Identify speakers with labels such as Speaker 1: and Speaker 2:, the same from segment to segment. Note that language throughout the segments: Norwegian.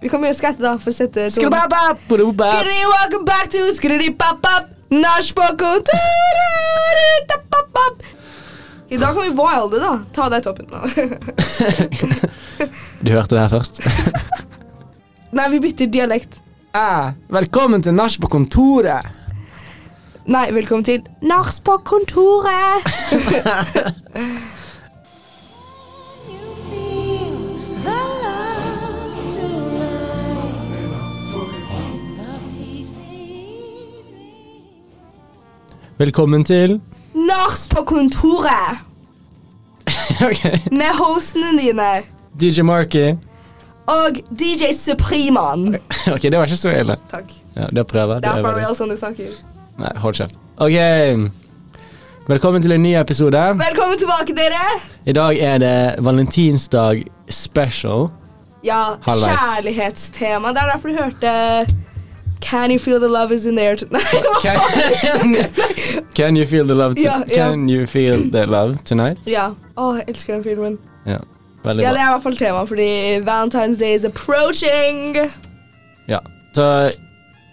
Speaker 1: Vi kan gjøre skatt da for å sette tonen.
Speaker 2: Skrubababababab.
Speaker 1: Skridi, welcome back to skridi, pap, pap. Nach på kontoret. tap, pap, pap. I dag kan vi wilde, da. Ta deg toppen.
Speaker 2: Du hørte det her først.
Speaker 1: Nei, vi bytter dialekt.
Speaker 2: Ah, velkommen til nach på kontoret.
Speaker 1: Nei, velkommen til Nach på kontoret.
Speaker 2: Velkommen til
Speaker 1: Nach på kontoret
Speaker 2: Ok.
Speaker 1: med hostene dine
Speaker 2: DJ Marky.
Speaker 1: og DJ Supriman.
Speaker 2: Ok, det var ikke så ille.
Speaker 1: Takk.
Speaker 2: Ja, det prøver
Speaker 1: Det er for
Speaker 2: jeg.
Speaker 1: real sånn du snakker.
Speaker 2: Nei, hold kjeft. Ok. Velkommen til en ny episode.
Speaker 1: Velkommen tilbake, dere.
Speaker 2: I dag er det valentinsdag special.
Speaker 1: Ja,
Speaker 2: Halvveis.
Speaker 1: kjærlighetstema. Det er derfor du hørte Can you feel the love is in the air tonight?
Speaker 2: Can, can you feel the love, to,
Speaker 1: Ja, ja.
Speaker 2: can you feel the love tonight?
Speaker 1: ja. Åh, jeg elsker den filmen.
Speaker 2: Ja, veldig
Speaker 1: Ja, det
Speaker 2: bra.
Speaker 1: er i hvert fall tema, fordi Valentine's Day is approaching.
Speaker 2: Ja. Så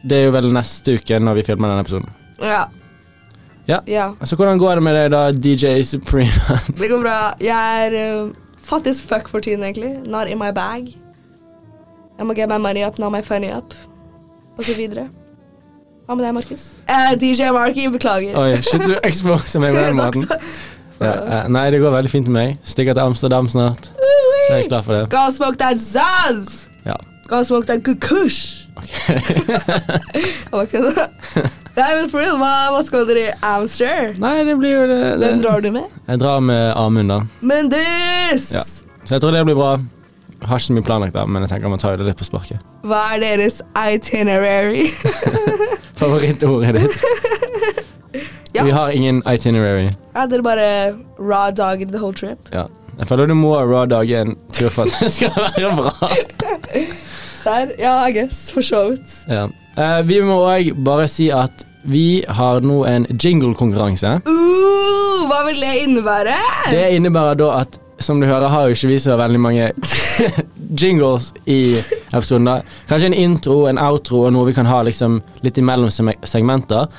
Speaker 2: det er jo vel neste uke når vi filmer denne episoden.
Speaker 1: Ja.
Speaker 2: Ja.
Speaker 1: ja.
Speaker 2: Så hvordan går det med deg da, DJ Supreme?
Speaker 1: Det går bra. Jeg er uh, fattig as fuck for tiden, egentlig. Not in my bag. Jeg må get my money up, not my funny up. Og så videre. Hva med deg, Markus? Eh, DJ Marky, beklager.
Speaker 2: Oi, shit, du exposer meg på den måten. Ja, eh, nei, det går veldig fint med meg. Stikker til Amsterdam snart. Så jeg er klar for det.
Speaker 1: Go smoke that zazz!
Speaker 2: Ja.
Speaker 1: Go smoke that kukush! Okay. Nei, men for real, hva, hva skal dere i Amster?
Speaker 2: Nei, det blir jo det, det.
Speaker 1: Hvem drar du med?
Speaker 2: Jeg drar med Amund, da.
Speaker 1: Mendis!
Speaker 2: Ja. Så jeg tror det blir bra. Har ikke så mye planlagt, da, men jeg tenker man tar jo det litt på sparket.
Speaker 1: Hva er deres itinerary?
Speaker 2: Favorittordet ditt.
Speaker 1: Ja.
Speaker 2: Vi har ingen itinerary.
Speaker 1: ja, dere bare raw dog the whole trip?
Speaker 2: Ja. Jeg føler du må ha raw dag i en tur for at det skal være bra.
Speaker 1: Serr? Ja, I guess. For så vidt.
Speaker 2: Ja. Eh, vi må òg bare si at vi har nå en jingle-konkurranse.
Speaker 1: Uh, hva vil det innebære?
Speaker 2: Det innebærer da at som du hører, har jo ikke vi så veldig mange jingles i episoden. da. Kanskje en intro, en outro og noe vi kan ha liksom litt imellom sem- segmenter.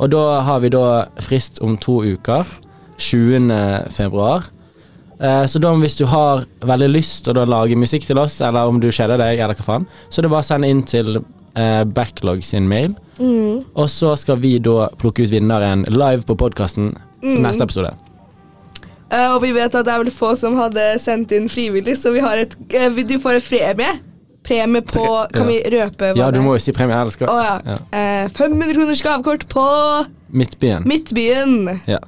Speaker 2: Og da har vi da frist om to uker. 20. februar. Eh, Så da, hvis du har veldig lyst til å da lage musikk til oss, eller om du kjeder deg, eller hva faen, så er det bare å sende inn til eh, Backlog sin mail. Og så skal vi da plukke ut vinneren live på podkasten til neste episode.
Speaker 1: Eh, og vi vet at det er vel få som hadde sendt inn frivillig, så vi har et eh, vi- Du får et premie. Premie på
Speaker 2: Pre-
Speaker 1: Kan vi røpe hva
Speaker 2: Ja,
Speaker 1: det
Speaker 2: du
Speaker 1: er?
Speaker 2: må jo si premie. Ellers skal
Speaker 1: Å ja. Eh, 500 kroners gavekort på
Speaker 2: Midtbyen.
Speaker 1: Midtbyen.
Speaker 2: ja.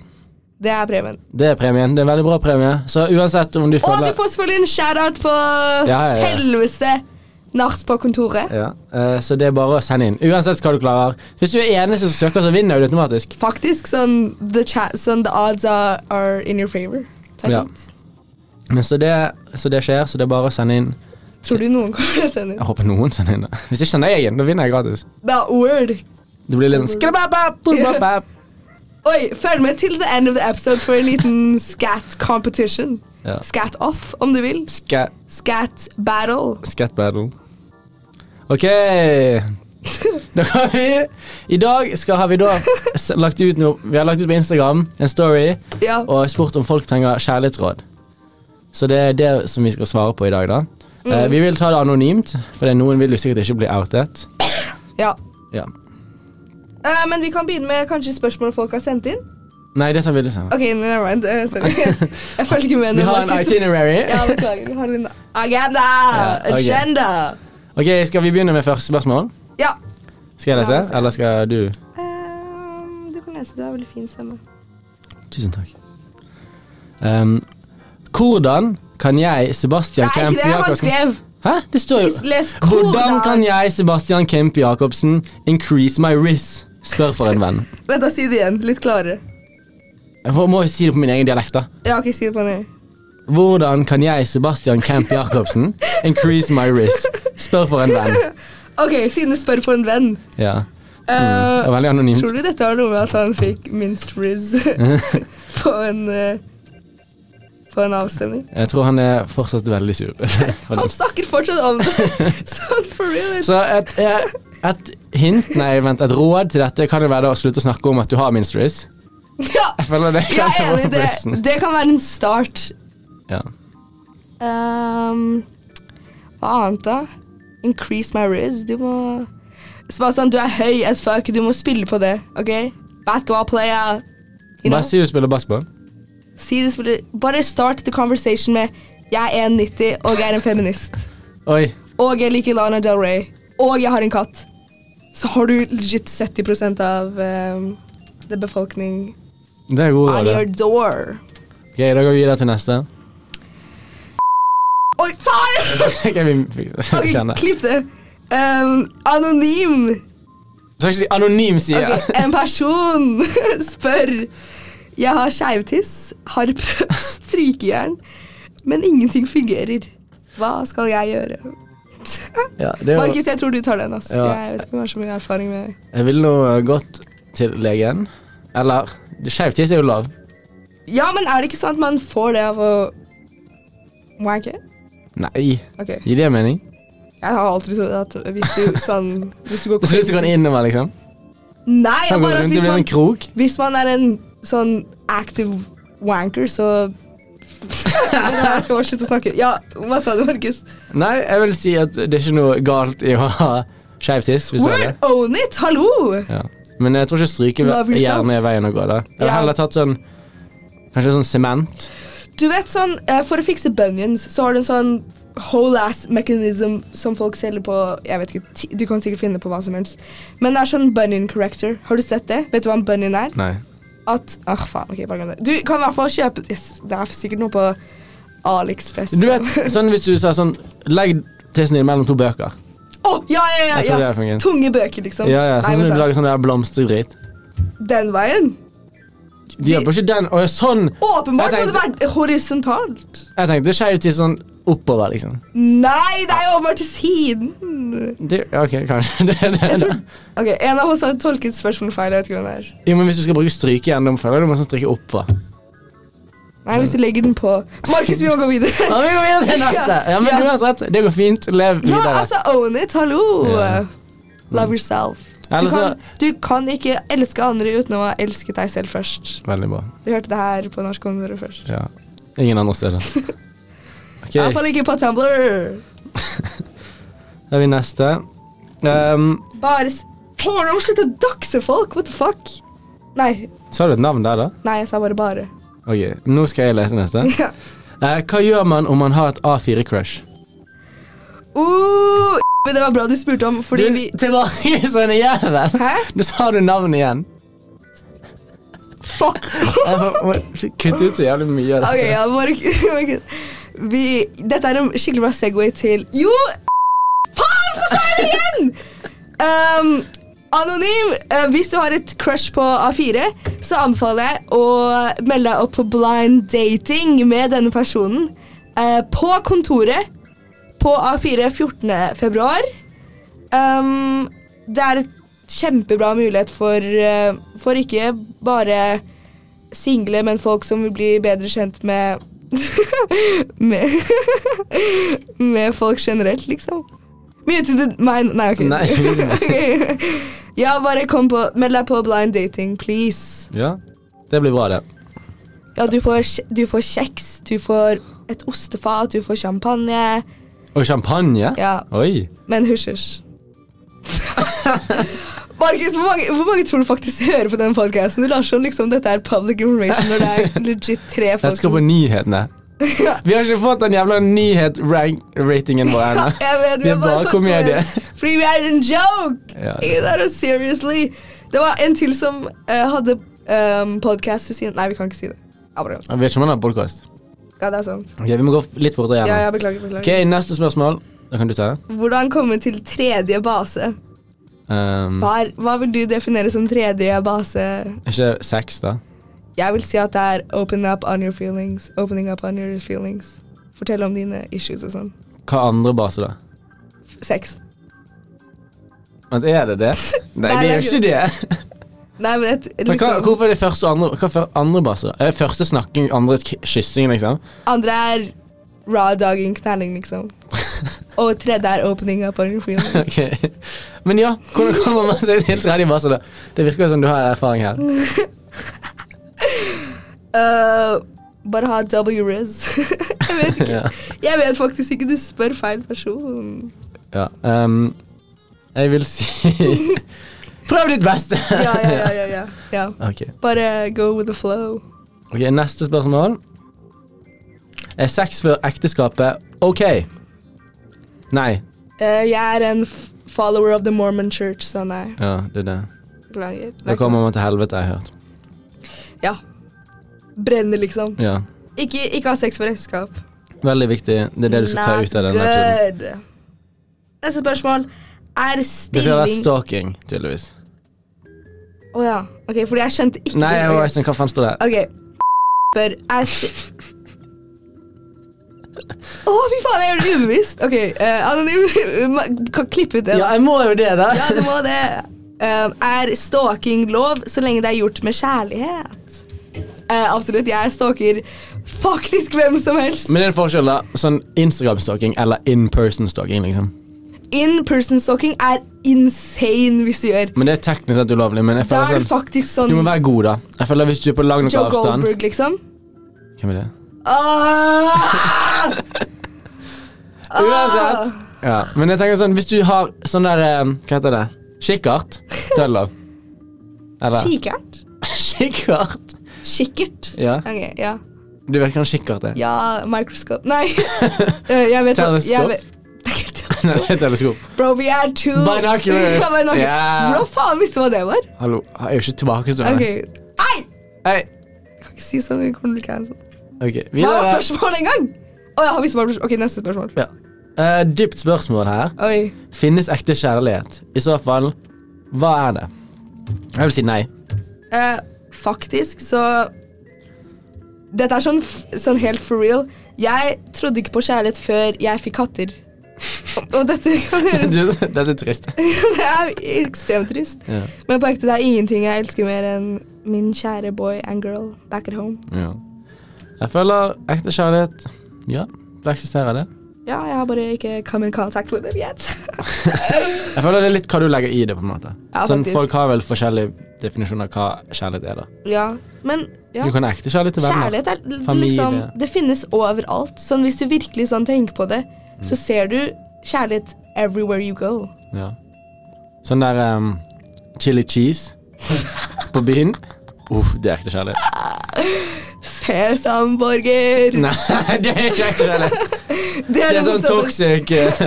Speaker 1: Det er premien.
Speaker 2: Det er premien. Det er en veldig bra premie. Så uansett om du
Speaker 1: Og du
Speaker 2: føler
Speaker 1: får selvfølgelig en shout-out på
Speaker 2: ja, ja.
Speaker 1: selveste Nach på kontoret.
Speaker 2: ja. eh, Så det er bare å sende inn. Uansett hva du klarer. Hvis du er eneste som søker, så vinner du automatisk.
Speaker 1: Faktisk sånn the, cha sånn the odds are, are in your favor. Så er det
Speaker 2: Ja.
Speaker 1: fint.
Speaker 2: Men så det, så det skjer, så det er bare å sende inn.
Speaker 1: Tror du noen kommer til å sende inn?
Speaker 2: Jeg håper noen sender inn. det. Hvis ikke sender jeg inn, da vinner jeg gratis.
Speaker 1: That word.
Speaker 2: Det blir litt sånn skrababab, bubabab.
Speaker 1: Oi, følg med til the end of the episode for en liten scat competition.
Speaker 2: Ja.
Speaker 1: Scat off, om du vil.
Speaker 2: Ska-
Speaker 1: Scat battle.
Speaker 2: Scat battle. Ok. Da har vi I dag skal, har vi da s- lagt ut noe Vi har lagt ut på Instagram en story
Speaker 1: Ja.
Speaker 2: og spurt om folk trenger kjærlighetsråd. Så det er det som vi skal svare på i dag, da.
Speaker 1: Mm.
Speaker 2: Eh, vi vil ta det anonymt, for det er noen vil jo sikkert ikke bli outet.
Speaker 1: ja.
Speaker 2: Ja.
Speaker 1: Eh, men vi kan begynne med kanskje spørsmål folk har sendt inn.
Speaker 2: Nei, det tar vi liksom.
Speaker 1: Ok, never mind. eh, sorry. Jeg følger ikke med.
Speaker 2: Vi
Speaker 1: nå,
Speaker 2: har en
Speaker 1: Markus.
Speaker 2: itinerary.
Speaker 1: Ja, beklager. Vi har en agenda.
Speaker 2: ok.
Speaker 1: Agenda.
Speaker 2: Ok, Skal vi begynne med første spørsmål?
Speaker 1: Ja.
Speaker 2: Skal jeg
Speaker 1: Ja,
Speaker 2: lese,
Speaker 1: lese.
Speaker 2: eller skal du?
Speaker 1: Ehm, du kan lese. Du har veldig fin stemme.
Speaker 2: Tusen takk. Ehm, hvordan kan jeg,
Speaker 1: Det
Speaker 2: Sebastian
Speaker 1: er ikke det han
Speaker 2: Jakobsen-
Speaker 1: skrev.
Speaker 2: Hæ? Det står jo
Speaker 1: Ikke les
Speaker 2: Hvordan
Speaker 1: hvordan.
Speaker 2: kan jeg, Sebastian Kemp Jacobsen, increase my risk? Spør for en venn.
Speaker 1: Vent, da, si det igjen. Litt klarere.
Speaker 2: Jeg får- må jo si det på min egen dialekt, da.
Speaker 1: Ja, ok, si det på nytt.
Speaker 2: Hvordan kan jeg, Sebastian Kemp Jacobsen, increase my risk? Spør for en venn.
Speaker 1: Ok, siden du spør for en venn.
Speaker 2: Ja.
Speaker 1: Eh,
Speaker 2: Mm. Det er veldig anonymt.
Speaker 1: Tror du dette har noe med at han fikk minst riz på en eh, på en avstemning.
Speaker 2: Jeg tror han er fortsatt veldig sur. for
Speaker 1: Han
Speaker 2: det.
Speaker 1: snakker fortsatt om det! Sånn for real.
Speaker 2: Så et, eh, et hint, nei, vent, et råd til dette kan jo være da å slutte å snakke om at du har minstress.
Speaker 1: Ja,
Speaker 2: Jeg føler det
Speaker 1: jeg er
Speaker 2: kan
Speaker 1: enig i
Speaker 2: være
Speaker 1: det.
Speaker 2: brisen.
Speaker 1: Det kan være en start.
Speaker 2: Ja.
Speaker 1: Ehm, hva annet, da? Increase my riz. Du må Sebastian, du er høy as fuck. Du må spille på det, OK? Basketball player. You know?
Speaker 2: Bare si du spiller basketball.
Speaker 1: Si det spiller. Bare start the conversation med 'Jeg er 1,90, og jeg er en feminist'.
Speaker 2: Oi.
Speaker 1: Og jeg liker Lana Del Rey. Og jeg har en katt. Så har du legit 70 av ehm, the befolkning
Speaker 2: Det er god
Speaker 1: on
Speaker 2: råd.
Speaker 1: your
Speaker 2: det.
Speaker 1: door.
Speaker 2: Ok, Da går vi videre til neste.
Speaker 1: Oi, faen!
Speaker 2: Ok, vi fikser
Speaker 1: Ok,
Speaker 2: kjenne.
Speaker 1: Klipp det. Ehm, anonym.
Speaker 2: Så skal jeg si anonym, sier
Speaker 1: Ok,
Speaker 2: jeg.
Speaker 1: En person spør Jeg har skeivtiss, har prøvd strykejern, men ingenting fungerer. Hva skal jeg gjøre?
Speaker 2: Ja, det er jo,
Speaker 1: Markus, jeg tror du tar den. ass.
Speaker 2: Ja.
Speaker 1: Jeg vet ikke om jeg har så mye erfaring med
Speaker 2: jeg ville nå eh, gått til legen. Eller Skeiv tiss er jo lav.
Speaker 1: Ja, men er det ikke sånn at man får det av å wanke?
Speaker 2: Nei,
Speaker 1: Ok.
Speaker 2: gir det mening?
Speaker 1: Jeg har alltid trodd at hvis du sånn Hvis du går
Speaker 2: Til slutt går han innover, liksom.
Speaker 1: Nei, jeg
Speaker 2: Han går
Speaker 1: bare at
Speaker 2: rundt, det
Speaker 1: hvis
Speaker 2: blir en
Speaker 1: man,
Speaker 2: krok.
Speaker 1: hvis man er en sånn active wanker, så Jeg skal bare slutte å snakke. Ja, hva sa du, Markus?
Speaker 2: Nei, jeg vil si at det er ikke noe galt i å ha skeiv tiss. hvis du har det.
Speaker 1: Word own it! Hallo!
Speaker 2: Ja. Men jeg tror ikke stryke
Speaker 1: Love yourself.
Speaker 2: gjerne er veien å gå. da Jeg ville
Speaker 1: Ja.
Speaker 2: heller tatt sånn Kanskje sånn sement.
Speaker 1: Du vet sånn, eh, For å fikse bunions så har du en sånn whole ass mechanism som folk selger på Jeg vet ikke, ti- Du kan sikkert finne på hva som helst. Men det er sånn bunion corrector. Har du sett det? Vet du hva en bunion er?
Speaker 2: Nei.
Speaker 1: At Åh, faen. ok, bare glem det. Du kan i hvert fall kjøpe yes, Det er sikkert noe på AliExpress.
Speaker 2: Du vet, sånn Hvis du sa sånn Legg tissen din mellom to bøker.
Speaker 1: Å, ja, ja, ja!
Speaker 2: Jeg tror det
Speaker 1: ja.
Speaker 2: er fungent.
Speaker 1: Tunge bøker, liksom.
Speaker 2: Ja, ja,
Speaker 1: Nei,
Speaker 2: sånn som
Speaker 1: vent
Speaker 2: du
Speaker 1: da.
Speaker 2: lager sånn der blomsterdrit.
Speaker 1: Den veien.
Speaker 2: De gjør på ikke den. Og sånn
Speaker 1: Åpenbart
Speaker 2: Jeg
Speaker 1: hadde vært horisontalt.
Speaker 2: Jeg tenkte skeiv tiss sånn oppover, liksom.
Speaker 1: Nei, det er jo åpenbart til siden.
Speaker 2: Det, ok, kanskje. Det, er det,
Speaker 1: Jeg
Speaker 2: da.
Speaker 1: tror, ok, En av oss har tolket spørsmålet feil. Jeg vet ikke hvem det er.
Speaker 2: Jo, men Hvis du skal bruke stryke igjen, da føler jeg du må sånn stryke oppå.
Speaker 1: Nei, hvis du legger den på Markus, vi må gå videre.
Speaker 2: Ja, vi går videre til neste. Ja, men
Speaker 1: Ja.
Speaker 2: uansett, det går fint. Lev
Speaker 1: Ja,
Speaker 2: videre.
Speaker 1: altså, own it. Hallo.
Speaker 2: Ja.
Speaker 1: Love yourself. Du
Speaker 2: Eller så-
Speaker 1: kan, du kan ikke elske andre uten å ha elsket deg selv først.
Speaker 2: Veldig bra.
Speaker 1: Du hørte det her på Norsk Ungdom først.
Speaker 2: Ja. Ingen andre steder. Ok,
Speaker 1: I hvert fall ikke på Tumblr.
Speaker 2: da er vi neste. Ehm,
Speaker 1: Bare s- Faen, jeg må slutte å doxe folk. What the fuck? Nei,
Speaker 2: så har du et navn der, da?
Speaker 1: nei, jeg sa bare 'bare'.
Speaker 2: Ok, Nå skal jeg lese neste.
Speaker 1: Ja.
Speaker 2: Eh, hva gjør man om man har et A4-crush?
Speaker 1: Uh, men det var bra du spurte om, fordi
Speaker 2: Du,
Speaker 1: vi
Speaker 2: Tilbake i sånn jævel!
Speaker 1: Hæ?
Speaker 2: Nå sa du navnet igjen.
Speaker 1: Fuck.
Speaker 2: Jeg får- må Kutte ut så jævlig mye av
Speaker 1: Ok,
Speaker 2: dette.
Speaker 1: ja, bare vi, Dette er en skikkelig bra segway til Jo! Faen, for sa jeg det igjen! Um, anonym, eh, hvis du har et crush på A4, så anbefaler jeg å melde deg opp på blind dating med denne personen eh, på kontoret på A4 14. februar. Um, det er et kjempebra mulighet for, eh, for ikke bare single, men folk som vil bli bedre kjent med med, med folk generelt, liksom. Mutet du meg? Nei, ok.
Speaker 2: Nei,
Speaker 1: Ok. Ja, bare kom på Meld deg på blind dating, please.
Speaker 2: Ja, det blir bra, det.
Speaker 1: Ja, du får, kje- du får kjeks, du får et ostefat, du får champagne.
Speaker 2: Og champagne?
Speaker 1: Ja,
Speaker 2: Oi.
Speaker 1: men hysj, hysj. Markus, hvor, mange- hvor mange tror du faktisk hører på den podkasten? Du lar som liksom dette er public information når det er legit tre folk
Speaker 2: Let's gå på
Speaker 1: som
Speaker 2: nyhetene.
Speaker 1: Ja.
Speaker 2: Vi har ikke fått den jævla nyhet-ratingen vår
Speaker 1: Ja,
Speaker 2: ennå.
Speaker 1: jeg vet,
Speaker 2: Vi er
Speaker 1: har
Speaker 2: bare
Speaker 1: fått
Speaker 2: komedie.
Speaker 1: med- Fordi vi er en joke!
Speaker 2: Ja, det er
Speaker 1: Ikke det er jo seriously. Det var en til som eh, hadde um, podkast ved siden Nei, vi kan ikke si det. Ja, bare-
Speaker 2: Jeg vet ikke om han har podkast.
Speaker 1: ja, det er sant.
Speaker 2: Ok, Vi må gå litt fortere
Speaker 1: Ja,
Speaker 2: gjennom.
Speaker 1: ja, beklager. beklager.
Speaker 2: Ok, Neste spørsmål. Da kan du ta det.
Speaker 1: Hvordan komme til tredje base?
Speaker 2: Um,
Speaker 1: Hva, er, hva vil du definere som tredje base?
Speaker 2: ikke sex, da.
Speaker 1: Jeg vil si at det er open up on your feelings. Opening up on your feelings. Fortell om dine issues og sånn.
Speaker 2: Hva andre base, da?
Speaker 1: Sex.
Speaker 2: Men er det det? Nei,
Speaker 1: Nei,
Speaker 2: det
Speaker 1: det
Speaker 2: er
Speaker 1: er
Speaker 2: jo ikke det.
Speaker 1: Nei, men et,
Speaker 2: Men hva,
Speaker 1: liksom,
Speaker 2: hvorfor er det første og andre, hva er før- andre base? da? Er det første snakking, andre k- kyssing, liksom?
Speaker 1: Andre er raw dogging, knalling, liksom. Og tredje er opening av pornofilmen.
Speaker 2: Ok. Men ja, hvordan kommer man seg til tredje base? da? Det virker som du har erfaring her.
Speaker 1: Uh, bare ha W-Riz. jeg vet ikke.
Speaker 2: Ja.
Speaker 1: Jeg vet faktisk ikke. Du spør feil person.
Speaker 2: Ja, ehm, jeg vil si Prøv ditt beste!
Speaker 1: Ja, ja, ja. ja, ja. ja.
Speaker 2: Ok.
Speaker 1: Bare go with the flow.
Speaker 2: ok, Neste spørsmål. Er sex før ekteskapet ok? Nei.
Speaker 1: Eh, jeg er en f follower of the Mormon church, så nei.
Speaker 2: Ja, det er det.
Speaker 1: Beklager.
Speaker 2: Da kommer man til helvete, har jeg hørt.
Speaker 1: Ja. Brenne, liksom.
Speaker 2: Ja.
Speaker 1: Ikke, ikke ha sex for ekteskap.
Speaker 2: Veldig viktig. Det er det du skal ta ut av den episoden.
Speaker 1: episoden. Neste spørsmål er
Speaker 2: Det skal være
Speaker 1: stilling Å
Speaker 2: stalking, tydeligvis.
Speaker 1: ja. Ok, fordi jeg skjønte ikke
Speaker 2: Nei,
Speaker 1: det.
Speaker 2: jeg var ikke sånn, hva faen står det?
Speaker 1: Ok. Spør er sti- Å, fy faen, jeg gjør det ubevisst. Ok, eh, anonym Man Kan klippe ut det.
Speaker 2: Ja,
Speaker 1: da.
Speaker 2: jeg må jo det, da!
Speaker 1: Ja, du må det. Um, er stalking lov så lenge det er gjort med kjærlighet? Eh, absolutt. Jeg stalker faktisk hvem som helst.
Speaker 2: Men det er en forskjell, da. Sånn Instagram-stalking eller in person-stalking, liksom.
Speaker 1: In person stalking er insane hvis du gjør.
Speaker 2: Men det er teknisk sett ulovlig, men jeg
Speaker 1: Da er
Speaker 2: føler
Speaker 1: det
Speaker 2: sånn
Speaker 1: faktisk sånn
Speaker 2: Du må være god, da. Jeg føler Hvis du er på lang nok
Speaker 1: Joe
Speaker 2: avstand
Speaker 1: Goldberg, liksom.
Speaker 2: Hvem er det?
Speaker 1: Ah!
Speaker 2: Uansett. Ja, men jeg tenker sånn, hvis du har sånn der eh, Hva heter det? Kikkert? Tøller. Eller?
Speaker 1: Kikkert?
Speaker 2: Kikkert?
Speaker 1: Kikkert?
Speaker 2: Ja.
Speaker 1: Ok, ja.
Speaker 2: Du vet hva en kikkert er?
Speaker 1: Ja, microscope Nei. Eh, jeg vet hva- jeg
Speaker 2: Teleskop?
Speaker 1: vet-
Speaker 2: Nei, det er et teleskop.
Speaker 1: Bro, vi er to
Speaker 2: Binoculars.
Speaker 1: Ja, binoculars.
Speaker 2: Yeah.
Speaker 1: Hvordan faen visste du hva det var?
Speaker 2: Hallo, jeg er jo ikke tilbakestående.
Speaker 1: Ok, Nei!
Speaker 2: Hei.
Speaker 1: Kan ikke si sånn. Vi kommer til å bli cancelled.
Speaker 2: Ok,
Speaker 1: Hva var
Speaker 2: videre.
Speaker 1: spørsmålet engang? Å ja, har vi svart spørsmål? Ok, neste spørsmål.
Speaker 2: Ja. Eh, dypt spørsmål her.
Speaker 1: Oi.
Speaker 2: Finnes ekte kjærlighet? I så fall, hva er det? Jeg vil si nei.
Speaker 1: Eh, faktisk så Dette er sånn, f- sånn helt for real. Jeg trodde ikke på kjærlighet før jeg fikk katter. Og, og dette kan høres
Speaker 2: Du- Dette er trist.
Speaker 1: Det er ekstremt trist.
Speaker 2: Ja.
Speaker 1: Men på ekte, det er ingenting jeg elsker mer enn min kjære boy and girl back at home.
Speaker 2: ja. Jeg føler ekte kjærlighet Ja, det eksisterer, det.
Speaker 1: Ja, jeg har bare ikke come in contact with it yet.
Speaker 2: Jeg føler det er litt hva du legger i det. på en måte
Speaker 1: Ja,
Speaker 2: Sånn,
Speaker 1: faktisk.
Speaker 2: Folk har vel forskjellige definisjoner av hva kjærlighet er. da
Speaker 1: Ja, men ja.
Speaker 2: Du kan ha ekte kjærlighet til venner.
Speaker 1: Kjærlighet er l-
Speaker 2: Familie.
Speaker 1: liksom Det finnes overalt. Sånn hvis du virkelig sånn tenker på det,
Speaker 2: Mm.
Speaker 1: så ser du kjærlighet everywhere you go.
Speaker 2: Ja. Sånn der em, chili cheese på byen. Uff, det er ekte kjærlighet.
Speaker 1: Sesamborger!
Speaker 2: Nei, det er ikke ekte kjærlighet.
Speaker 1: det
Speaker 2: Det er sånn
Speaker 1: motsatte.
Speaker 2: toxic eh,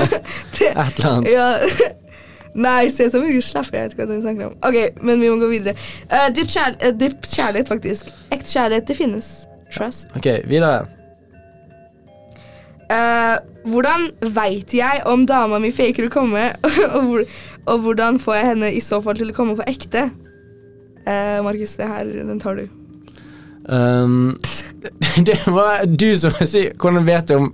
Speaker 2: et eller annet.
Speaker 1: Ja. Nei, sesamburger slapper jeg. vet ikke hva du snakker om. Ok, men vi må gå videre. Uh, dypt kjærl eh, dypt kjærlighet, faktisk. Ekte kjærlighet, det finnes. Trust.
Speaker 2: Ok, videre.
Speaker 1: Eh, hvordan veit jeg om dama mi faker å komme, og, hvor, og hvordan får jeg henne i så fall til å komme på ekte? Eh, Markus, det her, den tar du.
Speaker 2: Um, det var du som sier Hvordan vet du om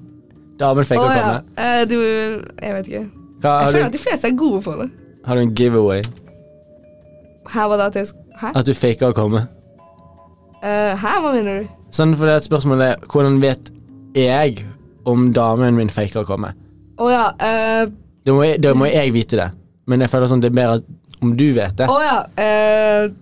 Speaker 2: damen fikk
Speaker 1: Å,
Speaker 2: å komme?
Speaker 1: Eh, du Jeg vet ikke.
Speaker 2: Hva,
Speaker 1: Jeg
Speaker 2: har,
Speaker 1: føler at
Speaker 2: du,
Speaker 1: de fleste er gode på det.
Speaker 2: har du en giveaway?
Speaker 1: Hæ, hva da? at jeg sk- Hæ?
Speaker 2: At du faker å komme?
Speaker 1: Eh, hæ, hva mener du?
Speaker 2: Sånn, for det er et spørsmål er Hvordan vet jeg om damen min faker å komme?
Speaker 1: Å ja. eh,
Speaker 2: Da må, jeg, da må jeg vite det. Men jeg føler sånn det er mer at om du vet det.
Speaker 1: Å ja. eh,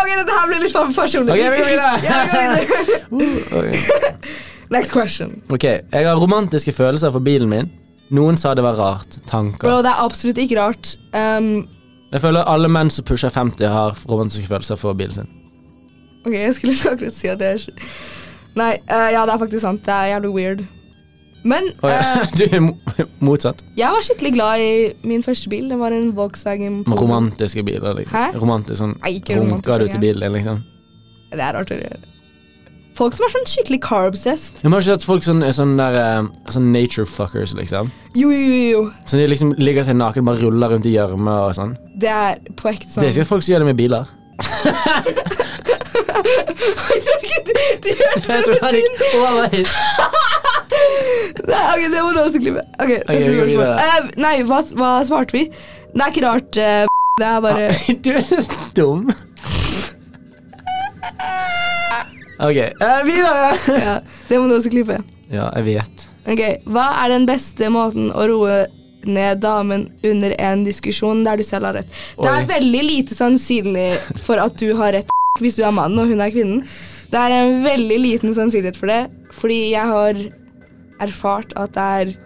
Speaker 1: OK, dette her ble litt for personlig.
Speaker 2: Ok, vi går videre.
Speaker 1: ja, vi går videre.
Speaker 2: Ok.
Speaker 1: Next question.
Speaker 2: ok, Jeg har romantiske følelser for bilen min. Noen sa det var rart. Tanker.
Speaker 1: Bro, det er absolutt ikke rart. Um,
Speaker 2: Jeg føler alle menn som pusher 50, har romantiske følelser for bilen sin.
Speaker 1: OK, jeg skulle akkurat si at det er så- Nei, eh, ja, det er faktisk sant. Det er jævlig weird. Men
Speaker 2: Å ja.
Speaker 1: eh,
Speaker 2: Du er mo- motsatt.
Speaker 1: jeg var skikkelig glad i min første bil. Det var en Volkswagen Polo.
Speaker 2: Romantiske biler. Liksom.
Speaker 1: Hæ?
Speaker 2: Romantisk sånn
Speaker 1: Nei, ikke romantisk,
Speaker 2: Runker du til
Speaker 1: jeg.
Speaker 2: bilen din, liksom?
Speaker 1: Det er rart å gjøre. Folk som er sånn skikkelig carb-sest.
Speaker 2: Jeg har ikke sett folk sånn, sånn der eh, Sånn nature fuckers, liksom.
Speaker 1: Jo, jo, jo, jo.
Speaker 2: Så de liksom ligger seg naken bare ruller rundt i gjørme og sånn.
Speaker 1: Det er på ekte sånn.
Speaker 2: Det er sikkert folk som gjør det med biler.
Speaker 1: Jeg tror ikke du, du hørte det.
Speaker 2: Jeg tror han gikk overveis.
Speaker 1: Nei, ok, det må du også klippe. Ok, neste
Speaker 2: vi går
Speaker 1: spørsmål.
Speaker 2: videre. Ah.
Speaker 1: Eh, nei, hva, hva svarte vi? Det er ikke rart. eh, det er bare
Speaker 2: Du, du dum. OK, eh, videre!
Speaker 1: Ja, det må du også klippe.
Speaker 2: Ja, jeg vet.
Speaker 1: Ok, Hva er den beste måten å roe ned damen under en diskusjon der du selv har rett? Det
Speaker 2: Oi.
Speaker 1: er veldig lite sannsynlig for at du har rett hvis du er mannen og hun er kvinnen. Det er en veldig liten sannsynlighet for det, fordi jeg har erfart at det er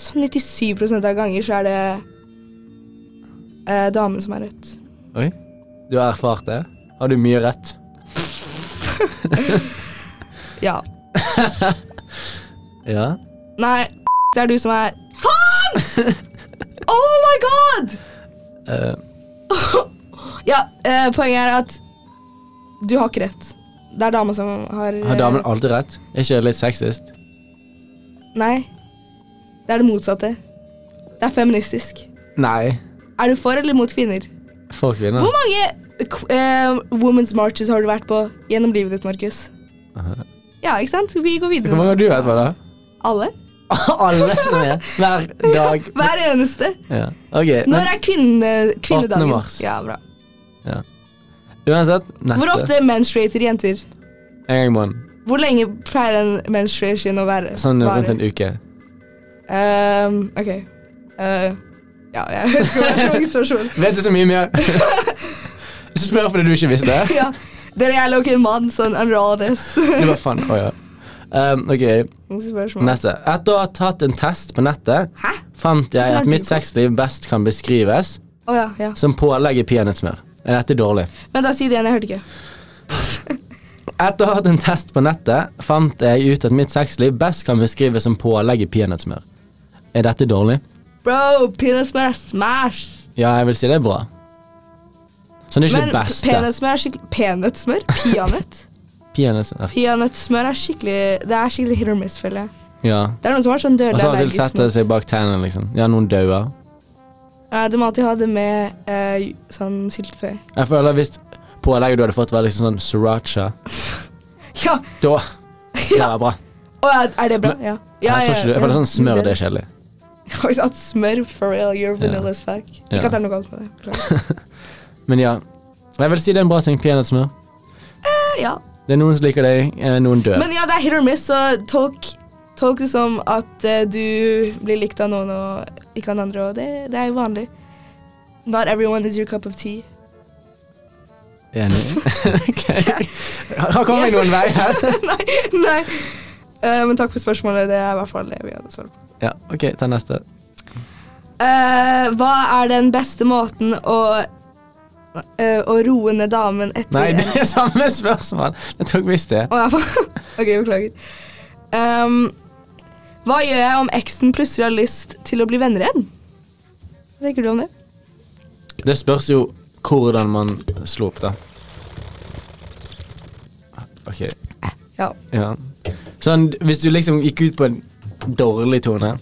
Speaker 1: sånn 97 av ganger så er det eh, damen som har rett.
Speaker 2: Oi. Du har erfart det? Har du mye rett?
Speaker 1: Ja.
Speaker 2: Ja.
Speaker 1: Nei, det er du som er Faen! Oh my god!
Speaker 2: Eh,
Speaker 1: Ja, eh, poenget er at du har ikke rett. Det er dama som har
Speaker 2: har damen
Speaker 1: eh,
Speaker 2: alltid rett? Er ikke det litt sexist?
Speaker 1: Nei. Det er det motsatte. Det er feministisk.
Speaker 2: Nei.
Speaker 1: Er du for eller mot kvinner?
Speaker 2: For kvinner.
Speaker 1: Hvor mange k- eh, women's marches har du vært på gjennom livet ditt, Markus?
Speaker 2: Aha.
Speaker 1: Ja, ikke sant? Vi går
Speaker 2: Hvor
Speaker 1: videre.
Speaker 2: mange har du vært på, da?
Speaker 1: Alle?
Speaker 2: Alle som er. Hver dag.
Speaker 1: Hver eneste.
Speaker 2: Ja. OK.
Speaker 1: Når er kvinne, kvinnedagen?
Speaker 2: 18. mars.
Speaker 1: Ja, bra.
Speaker 2: Uansett, neste.
Speaker 1: Hvor ofte menstruater jenter?
Speaker 2: En gang i måneden.
Speaker 1: Hvor lenge pleier en menstruation å være?
Speaker 2: Sånn
Speaker 1: vare?
Speaker 2: rundt en uke.
Speaker 1: Ehm, ok. Eh, ja, jeg vet ikke hva det er så mange spørsmål.
Speaker 2: Vet du så mye mer? Ikke spør fordi du ikke visste.
Speaker 1: ja. Dere er low en mann, sånn under all this.
Speaker 2: Du var faen, åja. Um, ok,
Speaker 1: spørsmål.
Speaker 2: neste. Etter å ha tatt en test på nettet,
Speaker 1: Hæ?
Speaker 2: fant jeg at mitt sexliv best kan beskrives
Speaker 1: Å ja, ja.
Speaker 2: som pålegg i peanøttsmør. Er dette dårlig?
Speaker 1: Vent, da, si det igjen. Jeg hørte ikke.
Speaker 2: Etter å ha hatt en test på nettet, fant jeg ut at mitt sexliv best kan beskrives som pålegg i peanøttsmør. Er dette dårlig?
Speaker 1: Bro, peanøttsmør er smash!
Speaker 2: Ja, jeg vil si det er bra. Så det er ikke
Speaker 1: Men
Speaker 2: det beste.
Speaker 1: peanøttsmør er skikkelig Peanøttsmør? Peanøtt?
Speaker 2: Peanøttsmør.
Speaker 1: Peanøttsmør er skikkelig Det er skikkelig hit or miss, føler jeg.
Speaker 2: Ja.
Speaker 1: Det er noen som har sånn
Speaker 2: Og
Speaker 1: dødelig
Speaker 2: så har til
Speaker 1: allergisk
Speaker 2: setter det
Speaker 1: mot
Speaker 2: seg bak tennene, liksom. Ja, noen dauer.
Speaker 1: Eh, Du må alltid ha det med eh, sånn syltetøy.
Speaker 2: Jeg føler hvis pålegget du hadde fått, var liksom sånn sriracha,
Speaker 1: Ja!
Speaker 2: da Det var bra.
Speaker 1: Å ja, er det bra? Ja. ja,
Speaker 2: jeg, tror ikke, det- jeg føler sånn smør, det er kjedelig.
Speaker 1: Faktisk at smør for real, you're vanilla as fuck.
Speaker 2: Ja.
Speaker 1: Ikke at det er noe galt med det. beklager.
Speaker 2: Men ja. Jeg vil si det er en bra ting. Peanøttsmør.
Speaker 1: Eh, ja.
Speaker 2: Det er noen som liker deg, eh, noen dør.
Speaker 1: Men ja, det er hit or miss, så tolk, tolk det som at eh, du blir likt av noen og ikke av den andre, og det, det er jo vanlig. Not everyone is your cup of tea.
Speaker 2: Enig. Ok. Har kommet noen vei her.
Speaker 1: nei, nei. Eh, men takk for spørsmålet, det er i hvert fall det vi hadde svar på.
Speaker 2: Ja, OK, ta neste.
Speaker 1: Eh, hva er den beste måten å eh, å roe ned damen etter
Speaker 2: Nei,
Speaker 1: en-
Speaker 2: det er samme spørsmål. Det tok visst det.
Speaker 1: Å ja, faen. ok, beklager. Ehm, hva gjør jeg om eksen plutselig har lyst til å bli venner igjen? Hva tenker du om det?
Speaker 2: Det spørs jo hvordan man slo opp, da. OK.
Speaker 1: Ja.
Speaker 2: Ja. Sånn, hvis du liksom gikk ut på en dårlig tone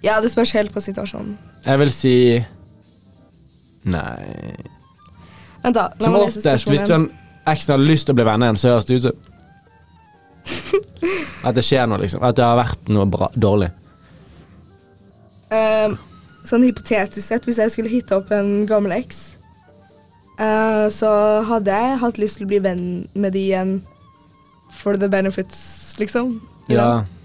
Speaker 1: ja, det spørs helt på situasjonen.
Speaker 2: Jeg vil si Nei
Speaker 1: Vent, da. La
Speaker 2: Som
Speaker 1: meg lese
Speaker 2: oftest,
Speaker 1: spørsmålet
Speaker 2: hvis
Speaker 1: igjen.
Speaker 2: sånn eksen har lyst til å bli venner igjen, så høres det ut som At det skjer noe, liksom. At det har vært noe bra, dårlig.
Speaker 1: Ehm, sånn hypotetisk sett, hvis jeg skulle hitte opp en gammel eks, eh, så hadde jeg hatt lyst til å bli venn med de igjen for the benefits, liksom. You
Speaker 2: Ja,
Speaker 1: know?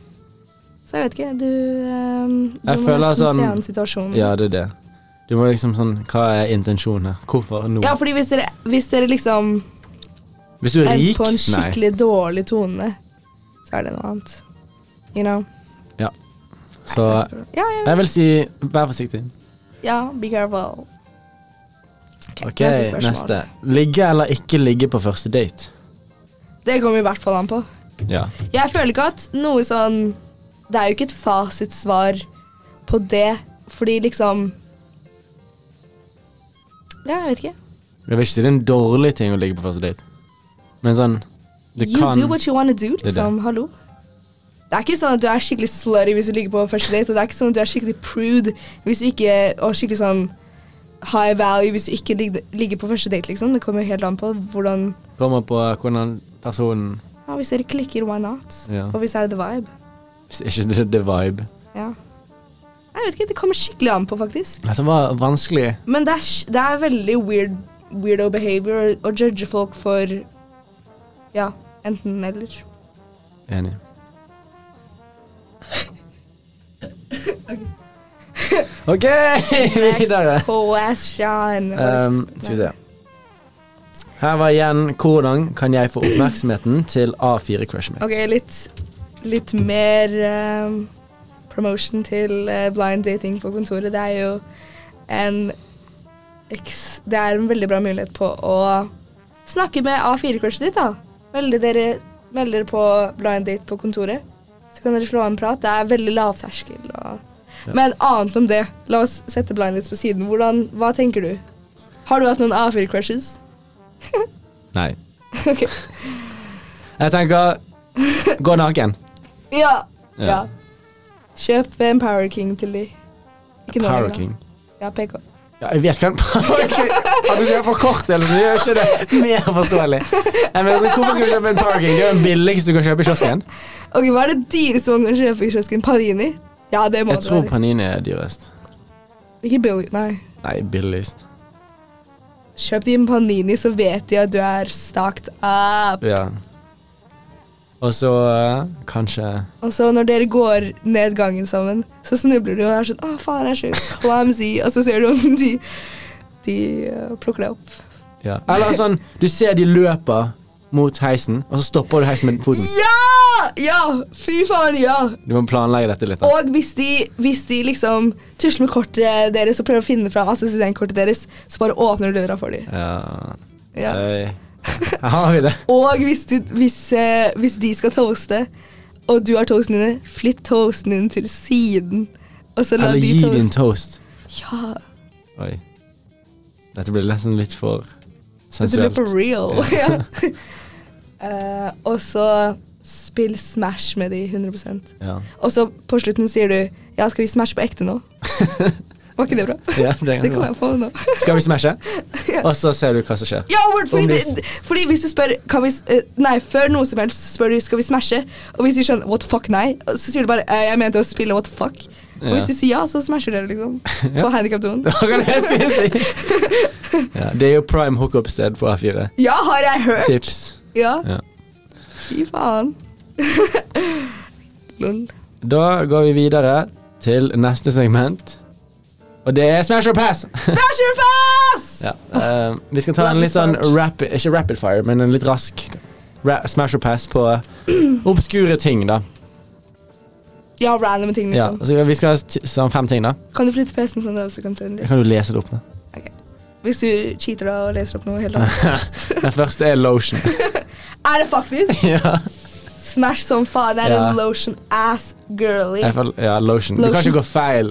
Speaker 1: Så jeg vet ikke, du, ehm, du
Speaker 2: Jeg
Speaker 1: må
Speaker 2: føler
Speaker 1: nesten
Speaker 2: sånn-
Speaker 1: se an situasjonen.
Speaker 2: ja det er det. Du må liksom sånn Hva er intensjonen her? Hvorfor nå?
Speaker 1: ja, fordi hvis dere, hvis dere liksom
Speaker 2: Hvis du er
Speaker 1: endt
Speaker 2: rik
Speaker 1: på en
Speaker 2: Nei.
Speaker 1: skikkelig dårlig tone, så er det noe annet. You know?
Speaker 2: Så
Speaker 1: Ja, ja,
Speaker 2: jeg vil si Vær forsiktig.
Speaker 1: ja, be careful.
Speaker 2: OK, neste. Ligge eller ikke ligge på første date?
Speaker 1: Det kommer i hvert fall an på.
Speaker 2: Ja.
Speaker 1: Jeg føler ikke at noe sånn Det er jo ikke et fasitsvar på det, fordi liksom Ja, jeg vet ikke.
Speaker 2: Jeg vil ikke si det er en dårlig ting å ligge på første date, men sånn Det
Speaker 1: You
Speaker 2: kan
Speaker 1: do what you wanna do,
Speaker 2: er det.
Speaker 1: liksom. Hallo. Det er ikke sånn at du er skikkelig slutty hvis du ligger på første date, og det er ikke sånn at du er skikkelig prude hvis du ikke Og skikkelig sånn high value hvis du ikke ligger, ligger på første date, liksom. Det kommer jo helt an på hvordan
Speaker 2: Kommer på hvordan personen
Speaker 1: Ja, hvis dere klikker, why not?
Speaker 2: Ja.
Speaker 1: Og hvis er det the vibe?
Speaker 2: Hvis ikke det er the vibe.
Speaker 1: Ja. Jeg vet ikke, det kommer skikkelig an på, faktisk.
Speaker 2: Dette var Altså, vanskelig.
Speaker 1: Men det er, sj- det er veldig weird weirdo behavior og judge folk for ja, enten eller.
Speaker 2: Enig. OK, videre.
Speaker 1: Next question.
Speaker 2: Um, skal vi se. Her var igjen hvordan kan jeg få oppmerksomheten til A4-crushet mitt.
Speaker 1: Ok, litt, litt mer ehm, promotion til eh, blind dating på kontoret. Det er jo en eks- Det er en veldig bra mulighet på å snakke med A4-kurset ditt, da. Meld dere, meld dere på blind date på kontoret, så kan dere slå av en prat. Det er veldig lavterskel. Og... Men annet om det, la oss sette blind dates på siden. Hvordan, hva tenker du? Har du hatt noen A4-crushes?
Speaker 2: Nei.
Speaker 1: Ok.
Speaker 2: Jeg tenker gå naken.
Speaker 1: Ja.
Speaker 2: Ja.
Speaker 1: ja. Kjøp en Power King til de. Ikke nå
Speaker 2: Power
Speaker 1: lenger.
Speaker 2: King.
Speaker 1: Ja, PK.
Speaker 2: Ja, jeg vet hva en Power King At du sier forkortelsen, gjør ikke det mer forståelig. Jeg mener, så hvorfor skal du kjøpe en Power King? Det er jo den billigste du kan kjøpe i kiosken.
Speaker 1: Ok, Hva er det dyreste man kan kjøpe i kiosken? Panini? Ja, det må
Speaker 2: Jeg
Speaker 1: det
Speaker 2: tror
Speaker 1: være.
Speaker 2: Panini er dyrest.
Speaker 1: Ikke billig, nei.
Speaker 2: Nei, billigst.
Speaker 1: Kjøp de med Panini, så vet de at du er stacked up.
Speaker 2: Ja. Og så eh, kanskje
Speaker 1: Og så når dere går ned gangen sammen, så snubler du og er sånn Å, faen, jeg er så clumsy. Og så ser du om de, de eh, plukker deg opp.
Speaker 2: ja. Eller sånn, du ser de løper mot heisen, og så stopper du heisen med foten.
Speaker 1: Ja! Ja! Fy faen, ja!
Speaker 2: Du må planlegge dette litt. Da.
Speaker 1: Og hvis de, hvis de liksom tusler med kortet deres og prøver å finne fram altså studentkortet deres, så bare åpner du døra for dem.
Speaker 2: Ja.
Speaker 1: Ja.
Speaker 2: Øy. Her har vi det.
Speaker 1: Og hvis, du, hvis, eh, hvis de skal toaste, og du har toasten dine, flytt toasten din til siden. Og så la
Speaker 2: Eller
Speaker 1: de
Speaker 2: gi
Speaker 1: toaste.
Speaker 2: din toast.
Speaker 1: Ja,
Speaker 2: Oi. Dette blir nesten litt for
Speaker 1: det blir
Speaker 2: sensuelt.
Speaker 1: for real. Ja. Eh, og så spill Smash med de 100
Speaker 2: Ja.
Speaker 1: Og så på slutten sier du ja, skal vi Smash på ekte nå? Var ikke det bra?
Speaker 2: Ja, det
Speaker 1: Det
Speaker 2: kan
Speaker 1: kom
Speaker 2: være.
Speaker 1: jeg på nå.
Speaker 2: Skal vi smashe? Og så ser du hva som skjer.
Speaker 1: Ja, Word, fordi,
Speaker 2: Om de-
Speaker 1: det, fordi hvis du spør kan vi, s- eh, Nei, før noe som helst spør du skal vi smashe, og hvis de skjønner what the fuck, nei, så sier du bare eh, jeg mente å spille what the fuck. Og
Speaker 2: Ja.
Speaker 1: hvis de sier ja, så smasher dere, liksom. På handikapdoen.
Speaker 2: Det var det jeg skulle si. Ja, det er jo prime hookup-sted på A4.
Speaker 1: Ja, har jeg hørt!
Speaker 2: Tips.
Speaker 1: Ja.
Speaker 2: Ja.
Speaker 1: Fy faen. Lol.
Speaker 2: Da går vi videre til neste segment. Og det er smash or pass!
Speaker 1: Smasher fast!
Speaker 2: Ja. eh, vi skal ta en litt sånn rapid, ikke rapid fire, men en litt rask ra smash or pass på obskure ting, da.
Speaker 1: Ja, random ting,
Speaker 2: Ja,
Speaker 1: liksom.
Speaker 2: så vi skal ha t- sånn fem ting, da.
Speaker 1: Kan du flytte PC-en sånn, da, så kan du se den litt?
Speaker 2: Kan du lese det opp? da?
Speaker 1: Hvis du cheater da og leser opp noe hele dagen.
Speaker 2: Den første er lotion.
Speaker 1: Er det faktisk?
Speaker 2: ja.
Speaker 1: Smash som faen. Det er
Speaker 2: Ja.
Speaker 1: en lotion ass girly.
Speaker 2: Jeg får- ja, lotion. Du kan
Speaker 1: Lotion.
Speaker 2: ikke gå feil.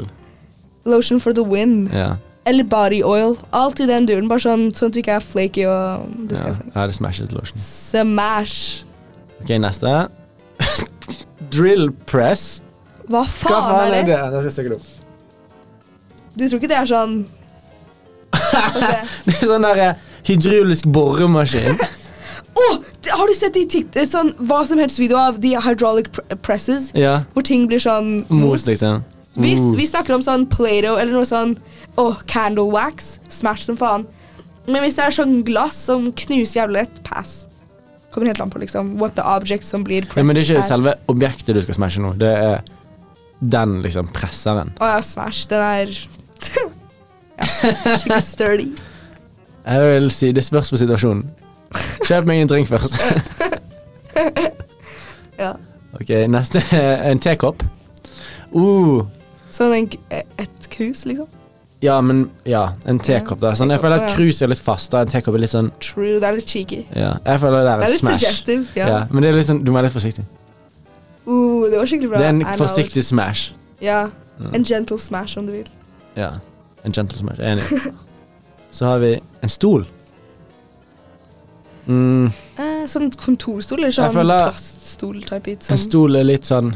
Speaker 1: Lotion for the win.
Speaker 2: Ja,
Speaker 1: Eller body oil. Alt i den duren, bare sånn, sånn at du ikke er flaky og
Speaker 2: ja.
Speaker 1: disgusting.
Speaker 2: ja det smashet lotion.
Speaker 1: Smash.
Speaker 2: Ok, neste. Drill press.
Speaker 1: Hva
Speaker 2: Hva
Speaker 1: faen, er, det?
Speaker 2: Det skal jeg søke det opp.
Speaker 1: Du tror ikke det er sånn Ok.
Speaker 2: Det er sånn der eh, hydraulisk boremaskin.
Speaker 1: Åh, det- Har du sett de tikt, eh, sånn, hva som helst video av de hydraulic pr eh, presses?
Speaker 2: Ja,
Speaker 1: Hvor ting blir sånn
Speaker 2: mos liksom.
Speaker 1: Hvis
Speaker 2: Uh.
Speaker 1: vi snakker om sånn Play-Doh eller noe sånn Åh, candle wax. Smash som faen. Men hvis det er sånn glass som knuser jævlig lett, pass. Kommer helt an på liksom what the object som blir pressed
Speaker 2: ja, Men det er ikke
Speaker 1: er.
Speaker 2: selve objektet du skal smashe nå. Det er den liksom presseren.
Speaker 1: Å ja, Smash. Den er ja, skikkelig sturdy.
Speaker 2: Jeg vil si det spørs på situasjonen. Kjøp meg en drink først.
Speaker 1: Ja.
Speaker 2: Ok, neste er en tekopp. Uh,
Speaker 1: Sånn en, et krus, liksom.
Speaker 2: ja, men ja, en tekopp da. Sånn, jeg føler at krus er litt fast da, en tekopp er litt sånn,
Speaker 1: True. Det er litt cheeky.
Speaker 2: ja. Jeg føler det er
Speaker 1: Det er
Speaker 2: et
Speaker 1: litt
Speaker 2: smash.
Speaker 1: suggestive.
Speaker 2: Ja.
Speaker 1: Ja.
Speaker 2: men det er litt sånn, du må være litt forsiktig.
Speaker 1: Uh, det var skikkelig bra.
Speaker 2: Det er en
Speaker 1: I know.
Speaker 2: forsiktig smash.
Speaker 1: Ja.
Speaker 2: Ja.
Speaker 1: En gentle smash, om du vil.
Speaker 2: Ja, en gentle smash, jeg er enig. Så har vi en stol. Mm,
Speaker 1: Eh, sånn kontorstol eller sånn
Speaker 2: føler-
Speaker 1: plaststol-type ut.
Speaker 2: en
Speaker 1: Sånn.
Speaker 2: stol er litt sånn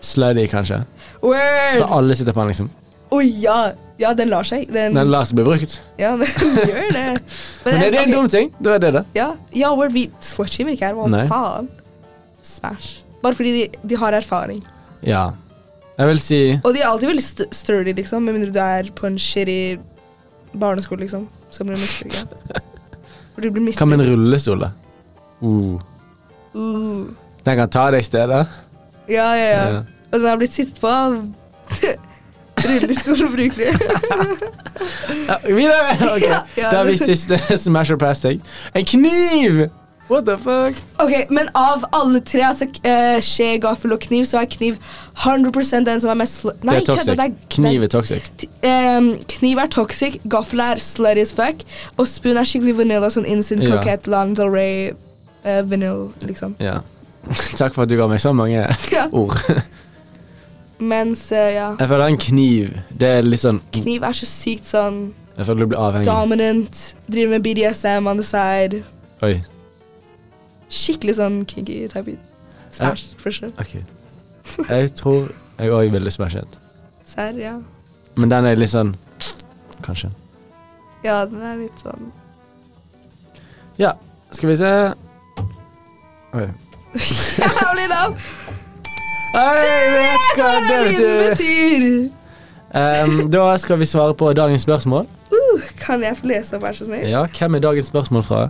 Speaker 2: slutty kanskje. Så
Speaker 1: Word!
Speaker 2: alle sitter på den liksom.
Speaker 1: Å ja! Ja, den lar seg. Den,
Speaker 2: Den lar seg bli brukt.
Speaker 1: Ja, den gjør det.
Speaker 2: Men er det
Speaker 1: ok,
Speaker 2: en dum ting? Det var det da.
Speaker 1: Ja, ja word, vi slutshamer ikke her. Hva
Speaker 2: Nei.
Speaker 1: faen? Smash. Bare fordi de, de har erfaring.
Speaker 2: Ja. Jeg vil si...
Speaker 1: Og de er alltid veldig st sturdy, liksom, med mindre du er på en shitty barneskole, liksom, som blir misbrukt. Hvor du blir
Speaker 2: Hva med en
Speaker 1: misbrukt.
Speaker 2: rullestol, da? Uh.
Speaker 1: Uh,
Speaker 2: Den kan ta deg steder.
Speaker 1: ja, ja, ja.
Speaker 2: Ja.
Speaker 1: Og den har blitt sittet på av rullestolbrukere.
Speaker 2: Ja, videre! Ok,
Speaker 1: Ja, ja.
Speaker 2: Da har vi siste Smash or Plastic. En kniv! What the fuck?
Speaker 1: ok, men av alle tre, altså eh, skje, gaffel og kniv, så er kniv 100 den som er mest sl...
Speaker 2: Det
Speaker 1: Nei,
Speaker 2: er toxic. Kniv er toxic.
Speaker 1: Ehm, kniv er toxic, gaffel er slutty as fuck, og spoon er skikkelig vanilla, sånn instant
Speaker 2: Ja.
Speaker 1: coquette, Lana Del Rey, eh, vanilla, liksom.
Speaker 2: Ja. Takk for at du ga meg så mange
Speaker 1: Ja.
Speaker 2: ord.
Speaker 1: Mens, eh, ja,
Speaker 2: Jeg føler en kniv Det er litt sånn Jeg
Speaker 1: kniv er så sykt sånn
Speaker 2: føler du blir avhengig.
Speaker 1: dominant, driver med BDSM on the side,
Speaker 2: Oi.
Speaker 1: skikkelig sånn kinky type beat. Smash, for sure.
Speaker 2: Ok. Jeg tror jeg òg ville smashet.
Speaker 1: Serr, ja.
Speaker 2: Men den er litt sånn Kanskje.
Speaker 1: Ja, den er litt sånn
Speaker 2: Ja, skal vi se Oi.
Speaker 1: Jævlig lav!
Speaker 2: Jeg vet hva det
Speaker 1: Lyden
Speaker 2: betyr!
Speaker 1: betyr!
Speaker 2: Em, da skal vi svare på dagens spørsmål.
Speaker 1: Uh, kan jeg få lese opp, vær så snill?
Speaker 2: Ja, Hvem er dagens spørsmål fra?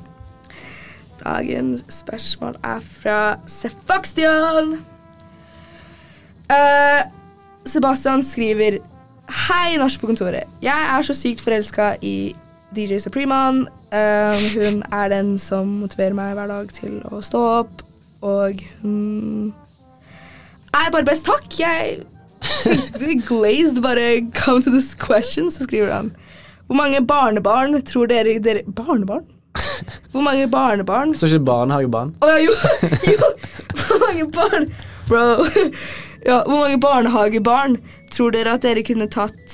Speaker 1: Dagens spørsmål er fra Sebastian. Eh, Sebastian skriver Hei, Norsk på kontoret. Jeg er så sykt forelska i DJ Supreman. Eh, hun er den som motiverer meg hver dag til å stå opp, og hun er bare best. Takk! Jeg tenkte glazed bare come to this question, så skriver han. Hvor mange barnebarn tror dere, dere Barnebarn? Hvor mange barnebarn
Speaker 2: Står ikke barnehagebarn?
Speaker 1: Å ja, jo, jo! Hvor mange barn Bro. Ja, hvor mange barnehagebarn tror dere at dere kunne tatt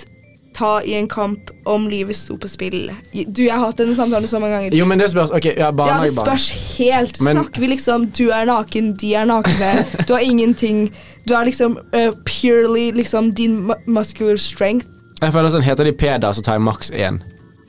Speaker 1: ta i en kamp om livet sto på spill? Du, jeg har hatt denne samtalen så mange ganger.
Speaker 2: Jo, men det spørs. Ok, ja,
Speaker 1: Ja, det
Speaker 2: barnehagebarn.
Speaker 1: spørs helt.
Speaker 2: Men-
Speaker 1: Snakker vi liksom du er naken, de er nakne, du har ingenting Du er liksom eh, purely liksom din mu- muscular strength.
Speaker 2: jeg føler sånn, Heter de Peder, så tar jeg maks én.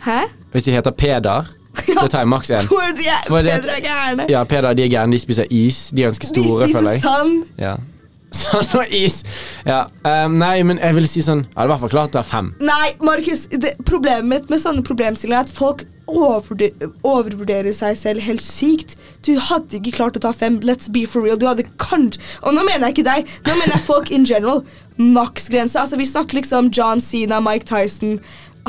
Speaker 1: Hæ?
Speaker 2: Hvis de heter Peder, så tar jeg maks én.
Speaker 1: Hvor de er,
Speaker 2: For det-
Speaker 1: Petra er gærne.
Speaker 2: Ja, Peder de er gærne. De spiser is. De er ganske
Speaker 1: de
Speaker 2: store, føler
Speaker 1: spiser
Speaker 2: jeg.
Speaker 1: sand.
Speaker 2: Ja. Sand og is. Ja. ehm, nei, men jeg vil si sånn Jeg hadde i hvert fall klart å ha fem.
Speaker 1: Nei, Markus. det- Problemet mitt med sånne problemstillinger er at folk overvurder, overvurderer seg selv helt sykt. Du hadde ikke klart å ta fem. Let's be for real. Du hadde kanskje Og nå mener jeg ikke deg. Nå mener jeg folk in general. Maksgrense. Altså, vi snakker liksom John Sina, Mike Tyson,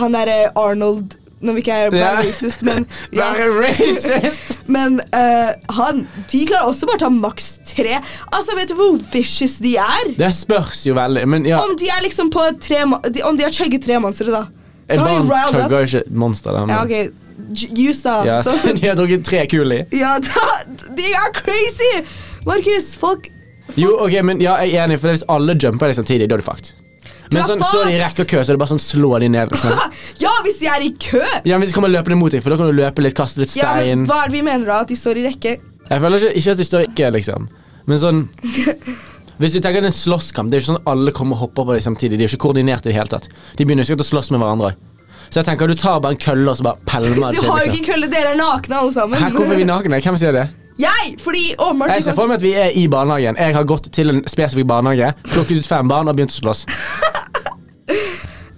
Speaker 1: han derre Arnold Når vi ikke er
Speaker 2: Ja.
Speaker 1: bare racist, men ja.
Speaker 2: Være racist!
Speaker 1: Men eh, han De klarer også bare å ta maks tre. Altså, vet du hvor vicious de er?
Speaker 2: Det spørs jo veldig, men ja
Speaker 1: Om de er liksom på tre ma- de, Om de har chugget tre monstre, da.
Speaker 2: Et
Speaker 1: Da har
Speaker 2: barn
Speaker 1: de riled up.
Speaker 2: chugger jo ikke monster. Da, men,
Speaker 1: Ja, ok. J- Juice, da.
Speaker 2: ja,
Speaker 1: Så,
Speaker 2: de har drukket tre kuli.
Speaker 1: ja, da, de er crazy! Markus, folk
Speaker 2: Jo, ok, men ja, jeg er enig, for hvis alle jumper deg samtidig, da er du fucked.
Speaker 1: Du
Speaker 2: Men
Speaker 1: er
Speaker 2: sånn, står de i rekke og kø, så er det bare sånn slå de ned. Liksom.
Speaker 1: Ja, hvis de er i kø!
Speaker 2: Ja, men De kommer løpende mot deg, for da kan du løpe litt, kaste litt
Speaker 1: Ja, men
Speaker 2: stein.
Speaker 1: Hva er det vi mener, da? At de står i rekke?
Speaker 2: Jeg føler ikke, ikke at de står ikke, liksom. Men sånn Hvis du tenker at det er en slåsskamp, det er jo ikke sånn at alle kommer og hopper på deg samtidig. De er jo ikke koordinert i det hele tatt. De begynner jo sikkert å slåss med hverandre. Så jeg tenker du tar bare en kølle og så bare pælmer
Speaker 1: Du
Speaker 2: til.
Speaker 1: har jo
Speaker 2: Liksom.
Speaker 1: ikke kølle, dere er nakne alle sammen.
Speaker 2: Hæ, hvorfor er vi nakne? Hvem sier det?
Speaker 1: Jeg! Fordi åpenbart
Speaker 2: Jeg ser for meg at vi er i barnehagen. Jeg har gått til en spesifikk barnehage, plukket ut fem barn og begynt å slåss.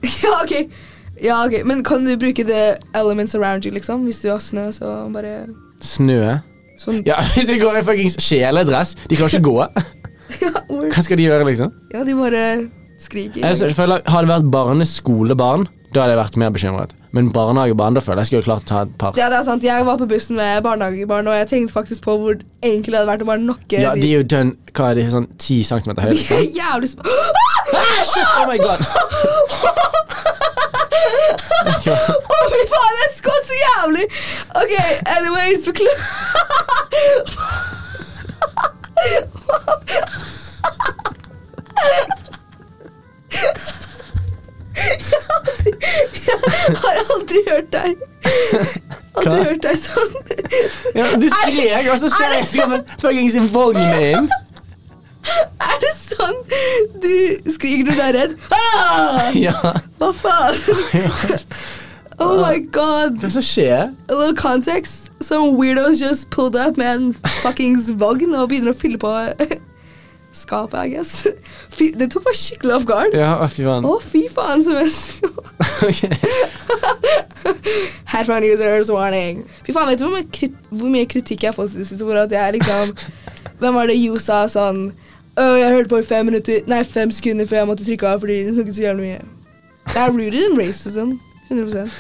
Speaker 1: Ja, ok. Ja, ok. Men kan du bruke the elements around you, liksom? Hvis du har snø, så bare
Speaker 2: Snø.
Speaker 1: Sånn.
Speaker 2: Ja, Hvis de går i fuckings kjeledress, de klarer ikke gå. Hva skal de gjøre, liksom?
Speaker 1: Ja, de bare skriker.
Speaker 2: Jeg s- føler, Hadde det vært barneskolebarn, da hadde jeg vært mer bekymret. Men barnehagebarn, da føler jeg skulle klart å ta et par.
Speaker 1: Ja, det er sant. Jeg var på bussen med barnehagebarn, og jeg tenkte faktisk på hvor enkelt det hadde vært å bare nokke
Speaker 2: Ja, de er jo dønn Hva er de, sånn 10 cm
Speaker 1: De er
Speaker 2: høye? Liksom.
Speaker 1: jævlig sp...
Speaker 2: Ah, shit, oh my god
Speaker 1: Å, fy faen, jeg skvatt så jævlig! OK, anyways, beklager Jeg har aldri hørt deg Aldri
Speaker 2: Hva?
Speaker 1: hørt deg sånn.
Speaker 2: ja, Du skrek, og så ser jeg skammen fuckings i vognen din.
Speaker 1: Er det sånn du skriker når du er redd? Ah!
Speaker 2: Ja.
Speaker 1: Hva faen? Oh my god.
Speaker 2: Hva som skjer?
Speaker 1: A little context. Some weirdos just pulled up med en fuckings vogn og begynner å fylle på skapet, I guess. Fy, det tok meg skikkelig off guard. Å,
Speaker 2: Ja, å,
Speaker 1: fy
Speaker 2: fy faen.
Speaker 1: faen, som jeg så.
Speaker 2: Ok.
Speaker 1: Headphone users warning. Fy faen, vet du hvor mye, krit hvor mye kritikk jeg har fått i det siste? For at jeg er liksom Hvem var det Jo sa sånn «Å, jeg hørte på i fem minutter Nei, fem sekunder før jeg måtte trykke av fordi de snakket så jævlig mye. Det er rooted in racism. 100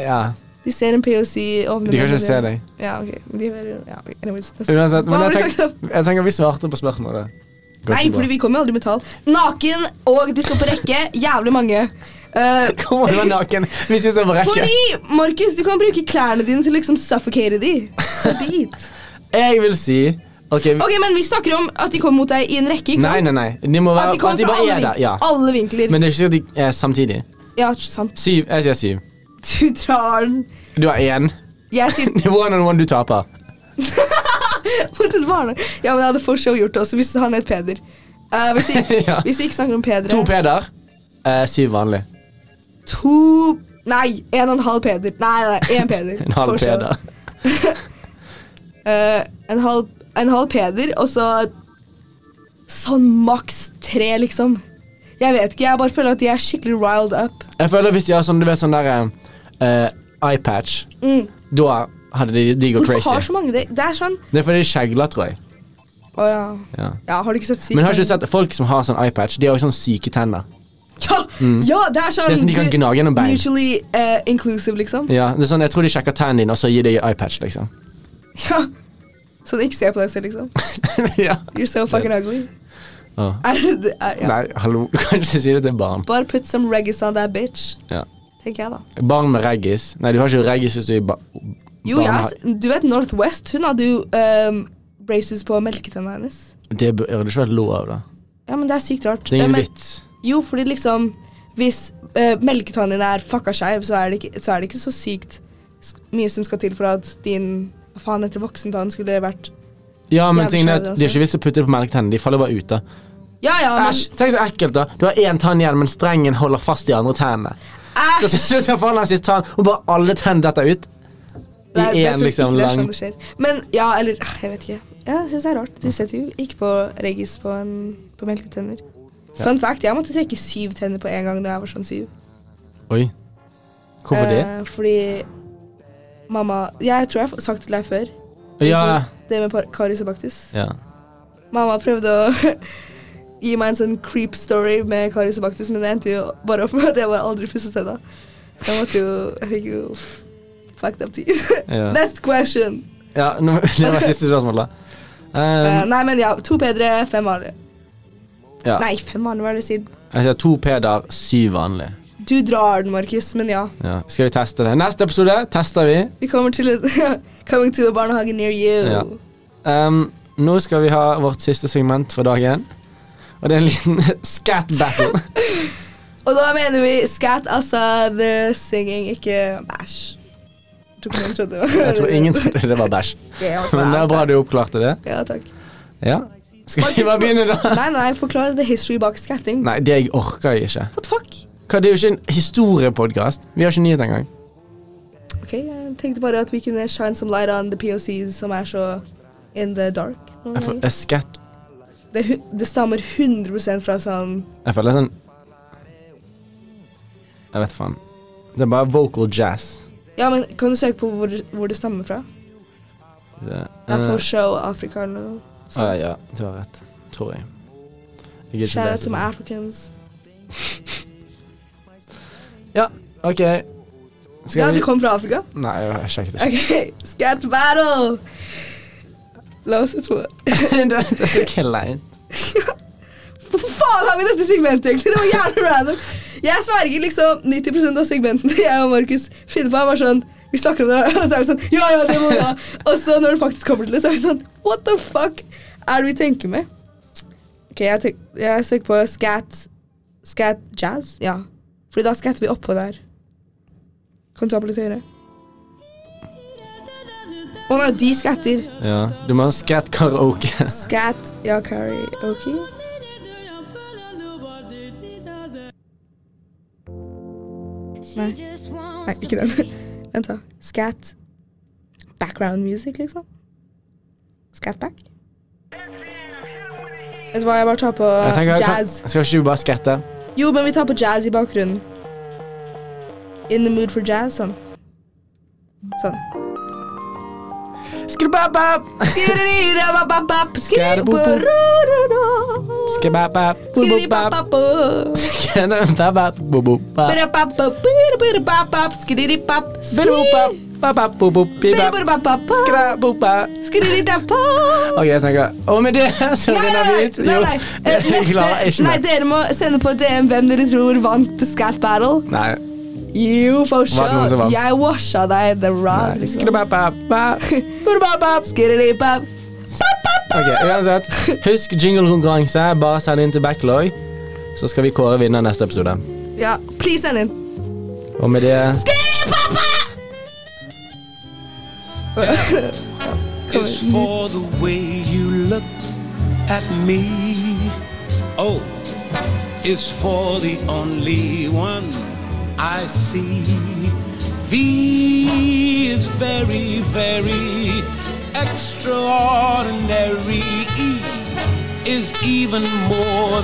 Speaker 2: Ja,
Speaker 1: De ser en POC og
Speaker 2: de kan ikke se deg.
Speaker 1: Ja, ok. Men De hører ja, ok. Anyways, det-
Speaker 2: Uansett,
Speaker 1: Hva
Speaker 2: men
Speaker 1: var
Speaker 2: jeg
Speaker 1: det
Speaker 2: tenker,
Speaker 1: sagt om?
Speaker 2: jeg tenker vi svarte på spørsmålet.
Speaker 1: Nei, fordi vi kommer jo aldri med tall. Naken og de står på rekke. Jævlig mange. Eh,
Speaker 2: Kom an, du er naken. Vi sitter på rekke.
Speaker 1: fordi, Markus, du kan bruke klærne dine til å liksom suffocate de. Så dit.
Speaker 2: Jeg vil si Ok, vi,
Speaker 1: Ok, men vi snakker om at de kom mot deg i en rekke, ikke
Speaker 2: Nei,
Speaker 1: sant?
Speaker 2: nei, nei. De må
Speaker 1: At
Speaker 2: være
Speaker 1: de kom
Speaker 2: at de
Speaker 1: fra
Speaker 2: bare
Speaker 1: alle,
Speaker 2: er der.
Speaker 1: vink
Speaker 2: Ja.
Speaker 1: alle vinkler.
Speaker 2: Men det er ikke sikkert de er samtidig.
Speaker 1: ja, sant.
Speaker 2: Syv. Jeg sier syv.
Speaker 1: Du drar den.
Speaker 2: Du har én.
Speaker 1: Jeg sier
Speaker 2: Det er one on one du taper.
Speaker 1: mot et barn. Ja, men jeg hadde for show gjort det også hvis han het Peder. Eh, hvis, vi,
Speaker 2: Ja.
Speaker 1: hvis vi ikke snakker om Peder
Speaker 2: To Peder. Eh, syv vanlig.
Speaker 1: To Nei, en og en halv Peder. Nei, nei, én Peder.
Speaker 2: En halv
Speaker 1: For show.
Speaker 2: Peder.
Speaker 1: Eh, en, halv, en halv Peder, og så sånn maks tre, liksom. Jeg vet ikke, jeg bare føler at de er skikkelig riled up.
Speaker 2: Jeg føler hvis de har sånn, du vet, sånn der eh, eyepatch,
Speaker 1: Mm.
Speaker 2: da hadde de, de gått
Speaker 1: Hvorfor
Speaker 2: crazy.
Speaker 1: har så mange det? Det er sånn
Speaker 2: Det er fordi de skjegler, tror jeg.
Speaker 1: Å ja.
Speaker 2: Ja.
Speaker 1: ja. Har du ikke sett sykt?
Speaker 2: Men har ikke du sett folk som har sånn eyepatch? De har jo sånn syke tenner.
Speaker 1: Ja, ja, det er sånn
Speaker 2: Mm. Det er sånn de kan
Speaker 1: du-
Speaker 2: gnage gjennom bein.
Speaker 1: Mutually eh, inclusive, liksom.
Speaker 2: Ja, det er sånn, Jeg tror de sjekker tennene dine, og så gir de eyepatch, liksom.
Speaker 1: Ja. Sånn ikke se på deg selv, liksom.
Speaker 2: ja.
Speaker 1: You're so fucking ugly.
Speaker 2: Åh.
Speaker 1: Er det, det er, ja.
Speaker 2: Nei, hallo, du kan ikke si det til barn.
Speaker 1: Bare put some reggae on that bitch,
Speaker 2: Ja.
Speaker 1: tenker jeg da.
Speaker 2: Barn med reggis. Nei, du har ikke reggis hvis du er i ba
Speaker 1: Jo, ja,
Speaker 2: barnehage.
Speaker 1: ass, du vet Northwest, hun hadde jo ehm, braces på melketennene hennes.
Speaker 2: Det burde ikke vært lov, da.
Speaker 1: Ja, men det er sykt rart.
Speaker 2: Det er
Speaker 1: Eh,
Speaker 2: ingen
Speaker 1: men,
Speaker 2: vits.
Speaker 1: jo, fordi liksom Hvis eh, melketannen din er fucka skeiv, så, er det ikke- så er det ikke så sykt s- mye som skal til for at din Hva faen heter det, voksentann skulle vært
Speaker 2: Ja, men
Speaker 1: jævlig
Speaker 2: tingen er at
Speaker 1: skjønt,
Speaker 2: Det er ikke vits å putte det på melketennene. De faller bare ut. da
Speaker 1: Ja ja, men
Speaker 2: Æsj! Tenk så ekkelt, da. Du har én tann igjen, men strengen holder fast i andre tennene. Så til
Speaker 1: æsj!
Speaker 2: slutt så faller den siste tann, og bare alle tennene detter ut. I
Speaker 1: Nei, jeg
Speaker 2: én
Speaker 1: tror
Speaker 2: liksom
Speaker 1: ikke det er
Speaker 2: lang
Speaker 1: sånn det skjer. Men ja, eller ah, Jeg vet ikke. Ja, jeg syns det er rart. Du setter jo ikke på Regis på, en, på melketenner. Fun fact, jeg måtte trekke syv tenner på en gang da jeg var sånn syv.
Speaker 2: Oi. Hvorfor det?
Speaker 1: Eh, fordi mamma Jeg tror jeg har sagt det til deg før.
Speaker 2: Ja.
Speaker 1: Det med par- karies og baktus.
Speaker 2: ja.
Speaker 1: Mamma prøvde å gi meg en sånn creep story med karies og baktus, men det endte jo bare opp med at jeg bare aldri pusset tenna. Så jeg måtte jo Jeg fikk jo fucked up teeth.
Speaker 2: ja.
Speaker 1: Next question.
Speaker 2: ja nå, det var siste spørsmål, da.
Speaker 1: Eh,
Speaker 2: Um,
Speaker 1: nei, men ja. To bedre, fem vanlige.
Speaker 2: Ja.
Speaker 1: Nei, fem vanlige, hva er det jeg sier?
Speaker 2: jeg sier to Peder, syv vanlig.
Speaker 1: Du drar den, Markus, men ja.
Speaker 2: Ja. Skal vi teste det? Neste episode tester vi.
Speaker 1: Vi kommer til et Coming to a barnehage near you.
Speaker 2: Ja. Um, nå skal vi ha vårt siste segment for dagen. Og det er en liten scat battle.
Speaker 1: Og da mener vi scat, altså the singing, ikke bæsj. Jeg tror ikke noen trodde det var
Speaker 2: Jeg tror ingen trodde det var bæsj.
Speaker 1: Det var
Speaker 2: Men det er bra du oppklarte det.
Speaker 1: Ja, takk.
Speaker 2: Ja. Skal vi bare begynne, da?
Speaker 1: Nei, nei, forklar the history bak scatting.
Speaker 2: Nei, det jeg orker jeg ikke.
Speaker 1: What the fuck?
Speaker 2: Hva, det er jo ikke en historiepodkast. Vi har ikke nyhet engang.
Speaker 1: Ok, jeg tenkte bare at vi kunne shine some light on the POCs som er så in the dark. noen
Speaker 2: Jeg,
Speaker 1: ganger.
Speaker 2: får- jeg, skat-
Speaker 1: Det, hu- det stammer 100 fra sånn
Speaker 2: jeg føler sånn Jeg vet faen. Det er bare vocal jazz.
Speaker 1: Ja, men kan du søke på hvor, hvor det stammer fra?
Speaker 2: Det,
Speaker 1: Det er
Speaker 2: eh,
Speaker 1: for show Africa eller noe
Speaker 2: ah,
Speaker 1: sånt.
Speaker 2: ja, du har rett. Tror jeg. Jeg gidder ikke
Speaker 1: Shout out
Speaker 2: lese
Speaker 1: to my
Speaker 2: sånn.
Speaker 1: Africans.
Speaker 2: OK. Skal
Speaker 1: Ja,
Speaker 2: vi
Speaker 1: det kom fra Afrika?
Speaker 2: Nei, jeg sjekket ikke.
Speaker 1: Ok, scat battle! La oss tro
Speaker 2: det, det er så kleint.
Speaker 1: Hvorfor faen har vi dette segmentet egentlig? Det var jævlig random. Jeg sverger liksom 90 av segmentene jeg og Markus finner på, er bare sånn Vi snakker om det, og så er vi sånn Ja, ja, det må vi ha. Og så når det faktisk kommer til det, så er vi sånn What the fuck er det vi tenker med? Ok, jeg, tenk, jeg søker på scat Scat jazz? Ja. Fordi da scatter vi oppå der. Kan du ta på litt høyere? Å nei, de scatter.
Speaker 2: Ja, du må ha scat karaoke.
Speaker 1: Scat Ja, karaoke.
Speaker 3: Nei.
Speaker 1: Nei, ikke den. Vent da. Scat Background music, liksom. Scat back. Vet du hva, jeg bare tar på
Speaker 2: Jeg tenker, kan,
Speaker 1: jazz.
Speaker 2: skal ikke du bare skatte?
Speaker 1: Jo, men vi tar på jazz i bakgrunnen. In the mood for jazz, sånn. Sånn.
Speaker 2: Skababab!
Speaker 1: Skirrirabababab, skirrirabababab,
Speaker 2: Skababab! Bobobab.
Speaker 1: skirrirabababab,
Speaker 2: Skababab. Bobobab.
Speaker 1: birababab, birababab, skirriribab,
Speaker 2: Bobobab. Babab. Bobobibab.
Speaker 1: skirrirabababab,
Speaker 2: Skrabobab.
Speaker 1: skirrirababab.
Speaker 2: Ok, jeg tenker Og med det så
Speaker 1: Nei,
Speaker 2: runder vi
Speaker 1: nei,
Speaker 2: ut.
Speaker 1: nei,
Speaker 2: Jo,
Speaker 1: nei. Eh, Neste,
Speaker 2: jeg klarer ikke
Speaker 1: nei,
Speaker 2: mer.
Speaker 1: dere må sende på DM hvem dere tror vant Scat Battle.
Speaker 2: Nei.
Speaker 1: You for
Speaker 2: Var det noen som
Speaker 1: sure.
Speaker 2: vant?
Speaker 1: Jeg washa deg the
Speaker 2: nei.
Speaker 1: round. liksom.
Speaker 2: Skababab. Bobobab.
Speaker 1: Skirriribab.
Speaker 2: Ok, uansett. Husk jinglekonkurranse. Bare send inn til Backlog, så skal vi kåre vinner neste episode.
Speaker 1: Ja, please send inn.
Speaker 2: Og med det
Speaker 4: is for the way you look at me. Oh, it's for the only one I see. V is very, very extraordinary. E is even more.